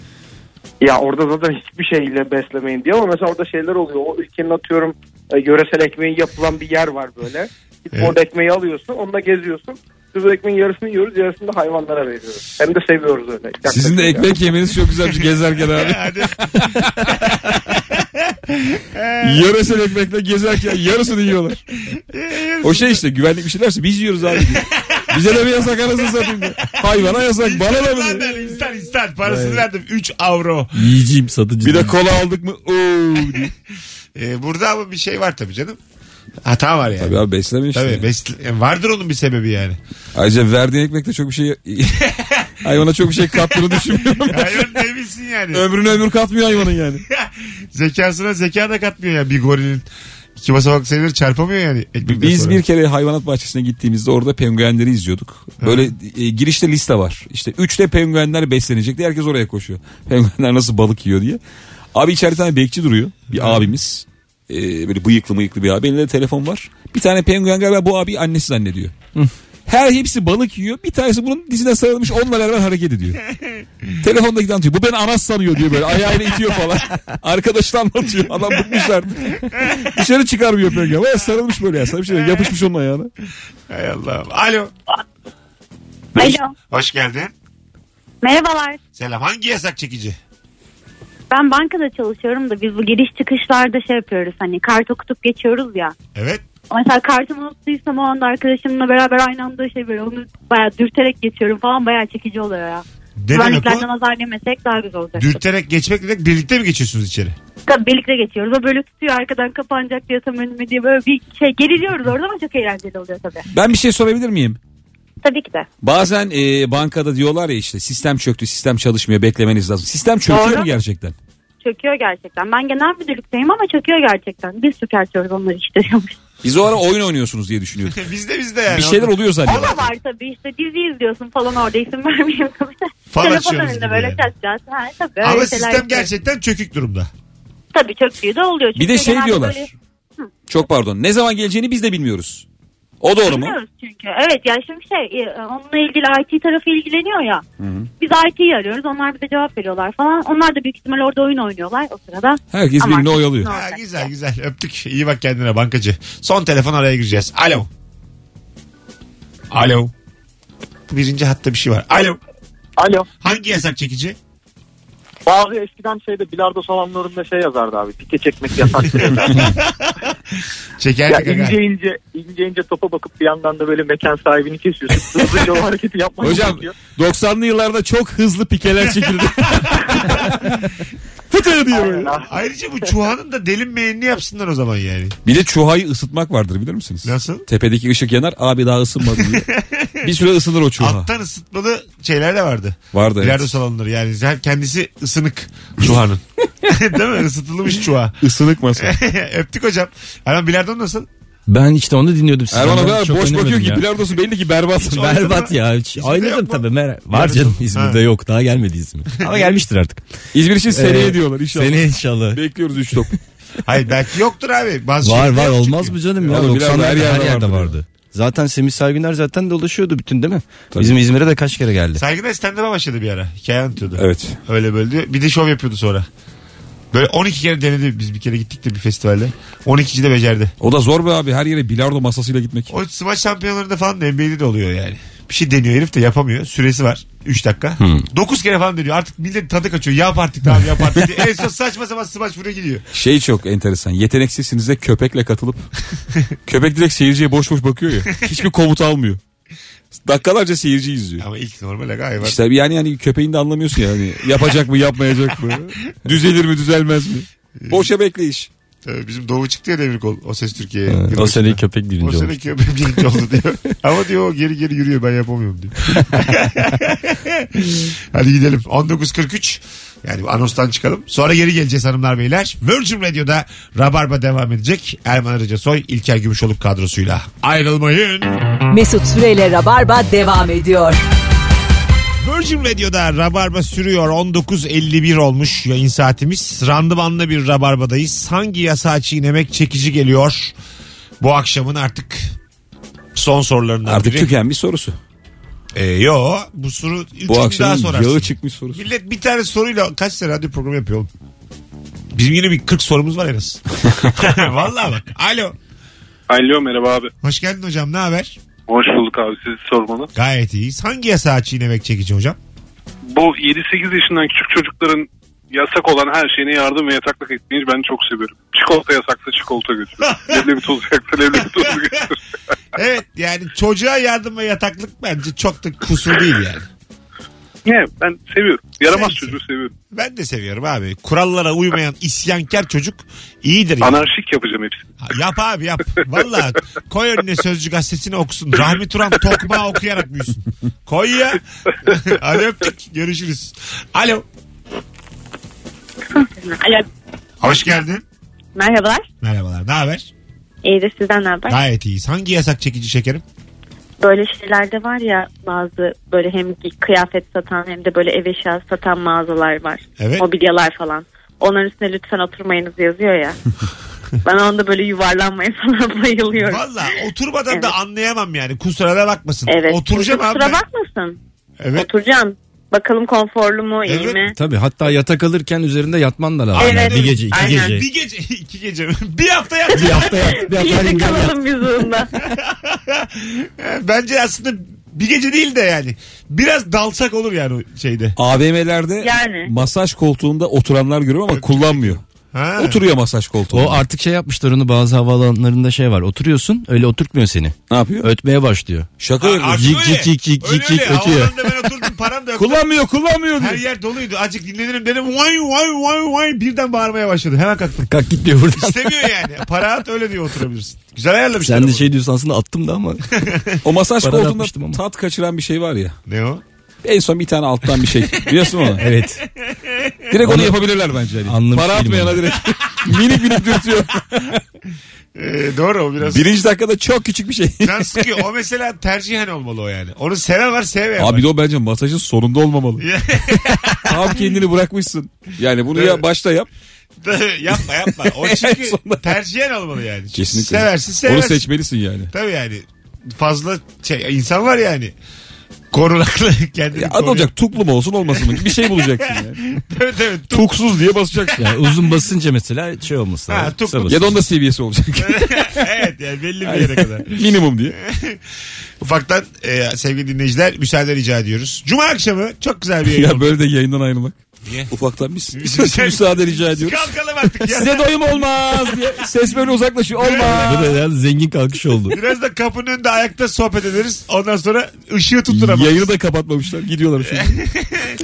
S6: Ya orada zaten hiçbir şeyle beslemeyin diyor ama mesela orada şeyler oluyor. O ülkenin atıyorum e, yöresel ekmeği yapılan bir yer var böyle. Gidip
S2: Evet.
S6: Orada ekmeği alıyorsun onunla geziyorsun. Biz o ekmeğin yarısını yiyoruz yarısını da hayvanlara veriyoruz. Hem de seviyoruz öyle.
S7: Sizin de
S6: Yaklaşık ya.
S7: ekmek yemeniz çok güzelmiş gezerken abi.
S2: Hadi.
S7: Yarısını ekmekle gezerken yarısını yiyorlar. O şey işte güvenlik bir şeylerse biz yiyoruz abi. Bize de bir yasak anasını satayım. diye. Hayvana yasak bana da mı?
S2: İnsan
S7: diye.
S2: ver, insan insan. Parasını verdim. 3 avro.
S3: Yiyeceğim satıcı.
S7: Bir de kola aldık mı? Oo diye.
S2: Ee, burada ama bir şey var tabii canım. Hata var yani.
S7: Tabii abi besleme işte.
S2: Tabii besle- yani vardır onun bir sebebi yani.
S7: Ayrıca verdiğin ekmekle çok bir şey... hayvana çok bir şey kattığını düşünmüyorum.
S2: Hayvan ne bilsin yani.
S7: Ömrüne ömür katmıyor hayvanın yani.
S2: Zekasına zeka da katmıyor ya bir gorilin. İki basamak sayıları çarpamıyor yani. ekmekten
S7: Biz
S2: sonra.
S7: bir kere hayvanat bahçesine gittiğimizde orada penguenleri izliyorduk. Böyle e, girişte liste var. İşte üçte penguenler beslenecek diye herkes oraya koşuyor. Penguenler nasıl balık yiyor diye. Abi içeride bir tane bekçi duruyor. Bir abimiz. E, böyle bıyıklı mıyıklı bir abi. Elinde de telefon var. Bir tane penguen galiba bu abi annesi zannediyor. Her hepsi balık yiyor. Bir tanesi bunun dizine sarılmış onunla beraber hareket ediyor. Telefondaki anlatıyor. Bu beni anas sanıyor diyor böyle. Ayağıyla itiyor falan. Arkadaşlar anlatıyor. Adam bıkmışlar. Dışarı çıkarmıyor penguen. Baya sarılmış böyle ya. Sarılmış ya. Yapışmış onun ayağına.
S2: Hay Allah'ım. Alo.
S9: Alo.
S2: Hoş geldin.
S9: Merhabalar.
S2: Selam. Hangi yasak çekici?
S9: Ben bankada çalışıyorum da biz bu giriş çıkışlarda şey yapıyoruz hani kart okutup geçiyoruz ya.
S2: Evet.
S9: Mesela kartımı unuttuysam o anda arkadaşımla beraber aynı anda şey böyle onu bayağı dürterek geçiyorum falan bayağı çekici oluyor ya.
S2: Ne demek o?
S9: Güvenliklerden azar yemesek daha güzel olacak.
S2: Dürterek geçmek demek birlikte mi geçiyorsunuz içeri?
S9: Tabii birlikte geçiyoruz. O böyle tutuyor arkadan kapanacak diye tam önüme diye böyle bir şey geriliyoruz orada ama çok eğlenceli oluyor tabii.
S7: Ben bir şey sorabilir miyim?
S9: Tabii ki de.
S7: Bazen e, bankada diyorlar ya işte sistem çöktü, sistem çalışmıyor, beklemeniz lazım. Sistem çöküyor
S9: Doğru.
S7: mu gerçekten?
S9: Çöküyor gerçekten. Ben genel müdürlükteyim ama çöküyor gerçekten. Biz süperçiyoruz onları işte.
S7: Biz o ara oyun oynuyorsunuz diye düşünüyorduk.
S2: bizde bizde yani.
S7: Bir şeyler
S2: Orada
S7: oluyor
S9: o
S7: zannediyorum.
S9: da var tabii işte dizi izliyorsun falan orada isim vermeyeyim tabii.
S2: Fal
S9: Telefon
S2: açıyoruz gibi
S9: önünde böyle
S2: yani.
S9: çatacağız. Ha, tabii,
S2: Ama
S9: öyle şeyler
S2: sistem
S9: yapıyoruz.
S2: gerçekten çökük durumda.
S9: Tabii çöktüğü de oluyor.
S7: Bir de
S9: Çünkü
S7: şey
S9: genelde
S7: diyorlar.
S9: böyle-
S7: Çok pardon. Ne zaman geleceğini biz de bilmiyoruz. O doğru mu?
S9: Bilmiyoruz çünkü. Evet ya şimdi şey e, onunla ilgili IT tarafı ilgileniyor ya. Biz IT'yi arıyoruz. Onlar bize cevap veriyorlar falan. Onlar da büyük ihtimal orada oyun oynuyorlar o sırada.
S7: Herkes
S9: Ama
S7: birbirini oyalıyor.
S9: ne
S2: Ha,
S9: olacak
S2: güzel
S9: ya?
S2: güzel öptük. İyi bak kendine bankacı. Son telefon araya gireceğiz. Alo. Alo. Birinci hatta bir şey var. Alo.
S6: Alo.
S2: Hangi yasak çekici?
S6: Bazı eskiden şeyde bilardo salonlarında şey yazardı abi. Pike çekmek yasak. ya
S2: Çekerdik aga.
S6: ince ince ince ince topa bakıp bir yandan da böyle mekan sahibini kesiyorsun. Hızlıca o hareketi yapmak
S7: Hocam 90'lı yıllarda çok hızlı pikeler çekildi. Fıtı diyor böyle.
S2: Ayrıca bu çuhanın da delinmeyenini yapsınlar o zaman yani.
S7: Bir de çuhayı ısıtmak vardır bilir misiniz?
S2: Nasıl?
S7: Tepedeki ışık yanar abi daha ısınmadı diye. bir süre ısınır o çuha.
S2: Alttan ısıtmalı şeyler de vardı.
S7: Vardı
S2: Bilardo
S7: evet.
S2: salonları yani Zaten kendisi ısınık çuhanın. Değil mi? Isıtılmış çuha.
S7: Isınık masa.
S2: Öptük hocam. Erman bilardon nasıl?
S3: Ben işte onu dinliyordum.
S7: Erman o
S3: sizden.
S7: kadar
S3: Çok
S7: boş
S3: önemedim
S7: bakıyor ki
S3: ya.
S7: bilardosu belli ki berbat.
S3: Berbat ya. şey Hiç Oynadım
S2: yok mu?
S3: tabii. Mer- var
S2: Yarısı-
S3: canım İzmir'de
S2: Ha.
S3: yok. Daha gelmedi İzmir. Ama gelmiştir artık.
S7: İzmir
S5: şey
S7: için seneye
S3: Ee,
S7: diyorlar inşallah.
S3: Seneye inşallah.
S7: Bekliyoruz 3 top.
S2: Hayır belki yoktur abi. Bazı
S3: Var
S2: şehirler
S3: var
S2: yok
S3: olmaz
S2: çünkü.
S3: mı canım ya?
S7: Oğlum,
S3: 90'larda
S7: bilardo
S3: her
S7: her
S3: yerde,
S7: yerde vardı.
S3: vardı. Zaten Semih Saygıner zaten dolaşıyordu bütün değil mi? Bizim İzmir'e de kaç kere geldi.
S2: Saygıda stand-up'a başladı bir ara. Hikaye anlatıyordu.
S7: Evet.
S2: Öyle böyle diyor. Bir de şov yapıyordu sonra. Böyle 12 kere denedi. Biz bir kere gittik de bir festivalde. 12. de becerdi.
S7: O da zor be abi her yere bilardo masasıyla gitmek.
S2: O smaç şampiyonlarında falan da NBA'de de oluyor yani. Bir şey deniyor herif de yapamıyor. Süresi var. 3 dakika.
S7: Hmm.
S2: 9 kere falan deniyor. Artık millet tadı kaçıyor. Yap artık tamam yap artık. diye. en son saçma sapan smaç buraya gidiyor.
S7: Şey çok enteresan. Yeteneksizsiniz de köpekle katılıp köpek direkt seyirciye boş boş bakıyor ya. Hiçbir komut almıyor. Dakikalarca seyirci izliyor.
S2: Ama ilk normal aga hayvan.
S7: İşte yani yani köpeğin de anlamıyorsun yani. Yapacak mı yapmayacak mı? Düzelir mi düzelmez mi? Boşa bekleyiş.
S2: Ee, Bizim Doğu çıktı ya devir kol. O ses Türkiye'ye.
S3: Evet,
S2: Yılbaşında.
S3: o sene köpek
S2: O
S3: birinci
S2: sene
S3: olmuş.
S2: köpeğim birinci oldu diyor. Ama diyor o geri geri yürüyor ben yapamıyorum diyor. Hadi gidelim. 19.43 yani bu anonstan çıkalım. Sonra geri geleceğiz hanımlar beyler. Virgin Radio'da Rabarba devam edecek. Erman Arıca Soy, İlker Gümüşoluk kadrosuyla. Ayrılmayın.
S1: Mesut Süreyle Rabarba devam ediyor.
S2: Virgin Radio'da Rabarba sürüyor. 19.51 olmuş yayın saatimiz. Randımanlı bir Rabarba'dayız. Hangi yasağı çiğnemek çekici geliyor? Bu akşamın artık son sorularından
S7: Artık
S2: biri.
S7: tükenmiş sorusu.
S2: Ee, yo bu soru
S7: Bu
S2: üçüncü daha
S7: akşam
S2: sorarsın.
S7: yağı çıkmış sorusu.
S2: Millet bir tane soruyla kaç sene radyo programı yapıyor oğlum? Bizim yine bir 40 sorumuz var en az. Vallahi bak. Alo.
S6: Alo merhaba abi.
S2: Hoş geldin hocam ne haber?
S6: Hoş bulduk abi sizi sormalı.
S2: Gayet iyiyiz. Hangi yasağı çiğnemek çekici hocam?
S6: Bu 7-8 yaşından küçük çocukların yasak olan her şeyine yardım ve yataklık etmeyi ben çok seviyorum. Çikolata yasaksa çikolata götür. leblebi tozu yaksa leblebi tozu götür.
S2: Evet yani çocuğa yardım ve yataklık bence çok da kusur değil yani.
S6: Niye? Ben seviyorum. Yaramaz
S2: Sen-
S6: çocuğu seviyorum.
S2: Ben de seviyorum abi. Kurallara uymayan isyankar çocuk iyidir. yani.
S6: Anarşik yapacağım hepsini.
S2: Ha, Yap abi yap. Valla koy önüne Sözcü gazetesini okusun. Rahmi Turan Tokmağı okuyarak büyüsün. Koy ya. Hadi öptük. Görüşürüz. Alo.
S9: Alo.
S2: Hoş geldin.
S9: Merhabalar.
S2: Merhabalar. Ne haber?
S9: İyidir sizden ne haber?
S2: Gayet iyiyiz. Hangi yasak çekici şekerim?
S9: Böyle şeylerde var ya bazı böyle hem kıyafet satan hem de böyle ev eşyası satan mağazalar var.
S2: Evet.
S9: Mobilyalar falan. Onların üstüne lütfen oturmayınız yazıyor ya. ben onda böyle yuvarlanmaya falan bayılıyorum.
S2: Valla oturmadan
S9: Evet.
S2: da anlayamam yani. Kusura da bakmasın.
S9: Evet.
S2: Oturacağım abi. ben.
S9: Kusura bakmasın.
S2: Evet.
S9: Oturacağım. Bakalım konforlu mu iyi
S2: Evet.
S9: mi?
S3: Tabii hatta yatak alırken üzerinde yatman da lazım.
S9: Evet.
S3: Bir gece iki
S9: Aynen.
S3: gece.
S2: Bir gece, iki gece. mi? bir hafta yap.
S3: Bir hafta yat. Bir hafta
S9: İyice
S3: yat.
S9: kalalım biz onunla.
S2: Bence aslında bir gece değil de yani. Biraz dalsak olur yani o şeyde.
S7: AVM'lerde
S9: Yani.
S7: masaj koltuğunda oturanlar görüyorum ama kullanmıyor.
S2: Ha.
S7: Oturuyor masaj koltuğunda.
S3: O artık şey yapmışlar onu bazı havaalanlarında şey var. Oturuyorsun öyle oturtmuyor seni.
S7: ne yapıyor?
S3: Ötmeye başlıyor.
S7: Şaka
S2: Ha,
S7: yapıyor.
S2: artık
S3: Cik
S2: öyle.
S3: cik cik cik
S2: Öyle
S3: cik cik
S2: öyle.
S3: ötüyor.
S2: Havalarında ben oturdum param da yok.
S7: Kullanmıyor kullanmıyor
S2: Her
S7: diyor.
S2: yer doluydu. Azıcık dinlenirim dedim. Vay vay vay vay. Birden bağırmaya başladı. Hemen kalktım.
S3: Kalk git diyor buradan.
S2: İstemiyor yani. Para at öyle diyor oturabilirsin. Güzel ayarlamışlar.
S3: Sen de
S2: bunu.
S3: şey diyorsun aslında attım da ama.
S7: O masaj
S3: Bana da atmıştım
S7: koltuğunda
S3: ama.
S7: tat kaçıran bir şey var ya.
S2: Ne o?
S7: En son bir tane alttan bir şey. Biliyorsun onu.
S3: evet.
S7: Direkt onu yapabilirler bence. Ali.
S3: Anlamış
S7: Para
S3: değilim
S7: atmayana
S3: onu.
S7: direkt. minik minik dürtüyor.
S2: Ee, doğru o biraz.
S7: Birinci dakikada çok küçük bir şey.
S2: Can sıkıyor. O mesela tercihen olmalı o yani. Onu seven var sevmeyen var.
S7: Abi de o bence masajın sonunda olmamalı. Tam kendini bırakmışsın. Yani bunu ya başta yap.
S2: yapma yapma. O çünkü
S7: Sonunda-
S2: tercihen olmalı yani.
S7: Kesinlikle.
S2: Seversin
S7: Onu
S2: seversin.
S7: seçmelisin yani.
S2: Tabii yani. Fazla şey, insan var yani. Korunaklı kendini
S7: Ya
S2: koruyor.
S7: adı olacak tuklu mu olsun olmasın mı? Bir şey bulacaksın yani.
S2: Evet evet. Tuk-
S7: Tuksuz diye basacaksın.
S3: Yani uzun basınca mesela şey olması
S2: Ha,
S3: lazım.
S2: tuk
S3: Kısa
S2: tuk.
S7: ya
S3: basınç.
S7: da onun da seviyesi olacak.
S2: evet yani belli bir yere kadar.
S7: Minimum diye.
S2: Ufaktan e, sevgili dinleyiciler müsaade rica ediyoruz. Cuma akşamı çok güzel bir yayın
S7: ya
S2: oldu.
S7: böyle de yayından ayrılmak.
S2: Niye?
S7: Ufaktan biz müsaade rica ediyoruz.
S2: Kalkalım artık ya.
S7: Size doyum olmaz diye. Ses böyle uzaklaşıyor. Olmaz.
S3: Bu da yani zengin kalkış oldu.
S2: Biraz da kapının önünde ayakta sohbet ederiz. Ondan sonra ışığı tutturamayız.
S7: Yayını da kapatmamışlar. Gidiyorlar şimdi.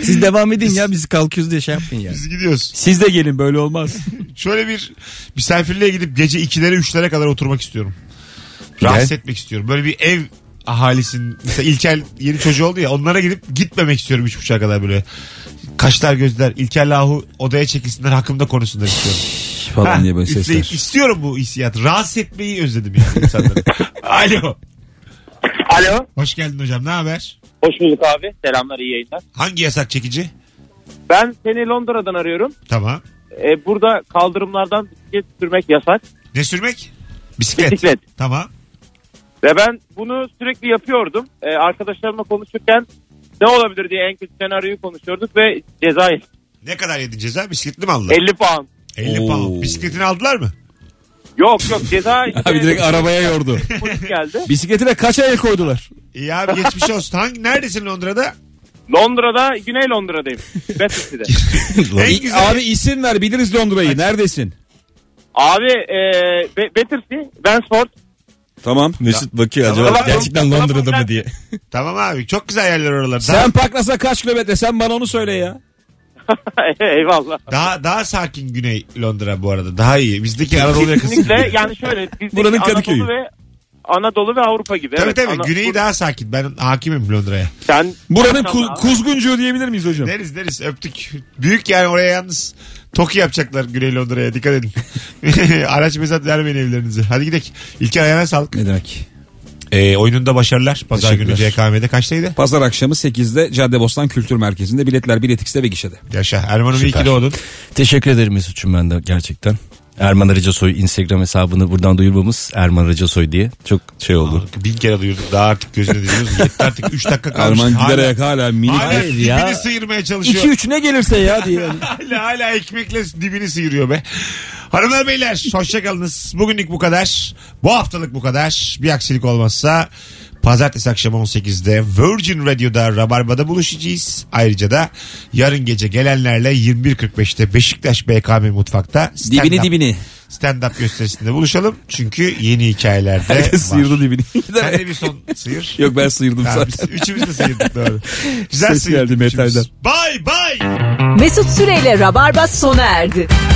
S3: Siz devam edin ya biz kalkıyoruz diye şey yapmayın yani.
S2: Biz gidiyoruz.
S7: Siz de gelin böyle olmaz.
S2: Şöyle bir misafirliğe gidip gece 2'lere 3'lere kadar oturmak istiyorum. Rahatsız etmek istiyorum. Böyle bir ev ahalisinin mesela İlker yeni çocuğu oldu ya onlara gidip gitmemek istiyorum 3.30'a kadar böyle. Kaşlar gözler İlker Lahu odaya çekilsinler hakkımda konuşsunlar istiyorum.
S7: Falan diye böyle
S2: Ha, üfleyip
S7: sesler.
S2: İstiyorum bu hissiyatı. Rahatsız etmeyi özledim yani insanları. Alo.
S5: Alo.
S2: Hoş geldin hocam. Ne haber?
S5: Hoş bulduk abi. Selamlar iyi yayınlar.
S2: Hangi yasak çekici?
S5: Ben seni Londra'dan arıyorum.
S2: Tamam.
S6: E,
S5: Ee, burada kaldırımlardan bisiklet sürmek yasak.
S2: Ne sürmek? Bisiklet.
S5: Bisiklet.
S2: Tamam.
S6: Ve ben bunu sürekli yapıyordum. Ee, arkadaşlarımla konuşurken ne olabilir diye en kötü senaryoyu konuşuyorduk ve ceza yedik.
S2: Ne kadar yedin ceza? Bisikletli mi aldılar?
S6: 50 puan.
S2: 50
S7: Oo.
S2: pound. Bisikletini aldılar mı?
S6: Yok yok ceza işte
S7: Abi direkt arabaya yordu.
S6: polis geldi.
S7: Bisikletine kaç el koydular?
S2: İyi abi geçmiş olsun. Hangi, neredesin Londra'da?
S6: Londra'da Güney Londra'dayım. Battersea'de.
S2: En güzel-
S7: Abi isim ver biliriz Londra'yı. Neredesin?
S6: Abi e, Be- Battersea, Bensford.
S7: Tamam.
S3: Mesut bakıyor acaba
S6: Tamam.
S3: gerçekten Londra'da mı diye.
S2: Tamam abi çok güzel yerler oralar. Daha,
S7: Sen Paklas'a kaç kilometre? Sen bana onu söyle ya.
S6: Eyvallah.
S2: daha, daha sakin güney Londra bu arada. Daha iyi. Bizdeki Anadolu yakası.
S6: Kesinlikle yani şöyle bizdeki
S7: Buranın Kadıköy'ü.
S6: Anadolu ve Anadolu ve Avrupa gibi.
S2: Tabii
S6: evet.
S2: tabii.
S6: Ana-
S2: Güneyi daha sakin. Ben hakimim Londra'ya.
S6: Sen
S7: Buranın
S6: Tamam
S7: ku-
S6: abi.
S7: kuzguncuğu diyebilir miyiz hocam?
S2: Deriz deriz öptük. Büyük yani oraya yalnız Toki yapacaklar Güney Londra'ya dikkat edin. Araç mesaj vermeyin evlerinize. Hadi gidelim. İlker ayağına sağlık.
S7: Ne demek?
S2: Ee, oyununda başarılar. Pazar günü
S7: Teşekkürler.
S2: CKM'de kaçtaydı?
S7: Pazar akşamı 8'de Caddebostan Kültür Merkezi'nde biletler biletikste ve gişede.
S2: Yaşa. Erman'ım iyi ki
S3: Süper.
S2: doğdun.
S3: Teşekkür ederim Mesut'cum ben de gerçekten. Erman Arıca Soy Instagram hesabını buradan duyurmamız Erman Arıca Soy diye çok şey oldu.
S2: Bin kere duyurduk. Daha artık gözüne diyoruz. Yetti artık 3 dakika kalmış.
S7: Erman
S2: Hala-
S7: giderek hala minik.
S2: Hala
S3: Hayır
S2: dibini
S3: ya.
S2: sıyırmaya çalışıyor.
S7: 2-3 ne gelirse ya diye.
S2: hala hala ekmekle dibini sıyırıyor be. Hanımlar beyler hoşçakalınız. Bugünlük bu kadar. Bu haftalık bu kadar. Bir aksilik olmazsa pazartesi akşamı 18'de Virgin Radio'da Rabarba'da buluşacağız. Ayrıca da yarın gece gelenlerle 21.45'te Beşiktaş BKM Mutfak'ta stand-up,
S7: dibini dibini.
S2: stand-up gösterisinde buluşalım. Çünkü yeni hikayelerde var.
S7: Herkes sıyırdı dibini.
S2: Sen de bir son sıyır.
S7: Yok ben sıyırdım
S2: Tamam,
S7: zaten.
S2: biz üçümüz de sıyırdık doğru. Güzel
S7: Ses
S2: sıyırdık
S7: geldi
S2: üçümüz.
S7: metalden.
S2: Bay bay.
S1: Mesut Süreyle Rabarba sona erdi.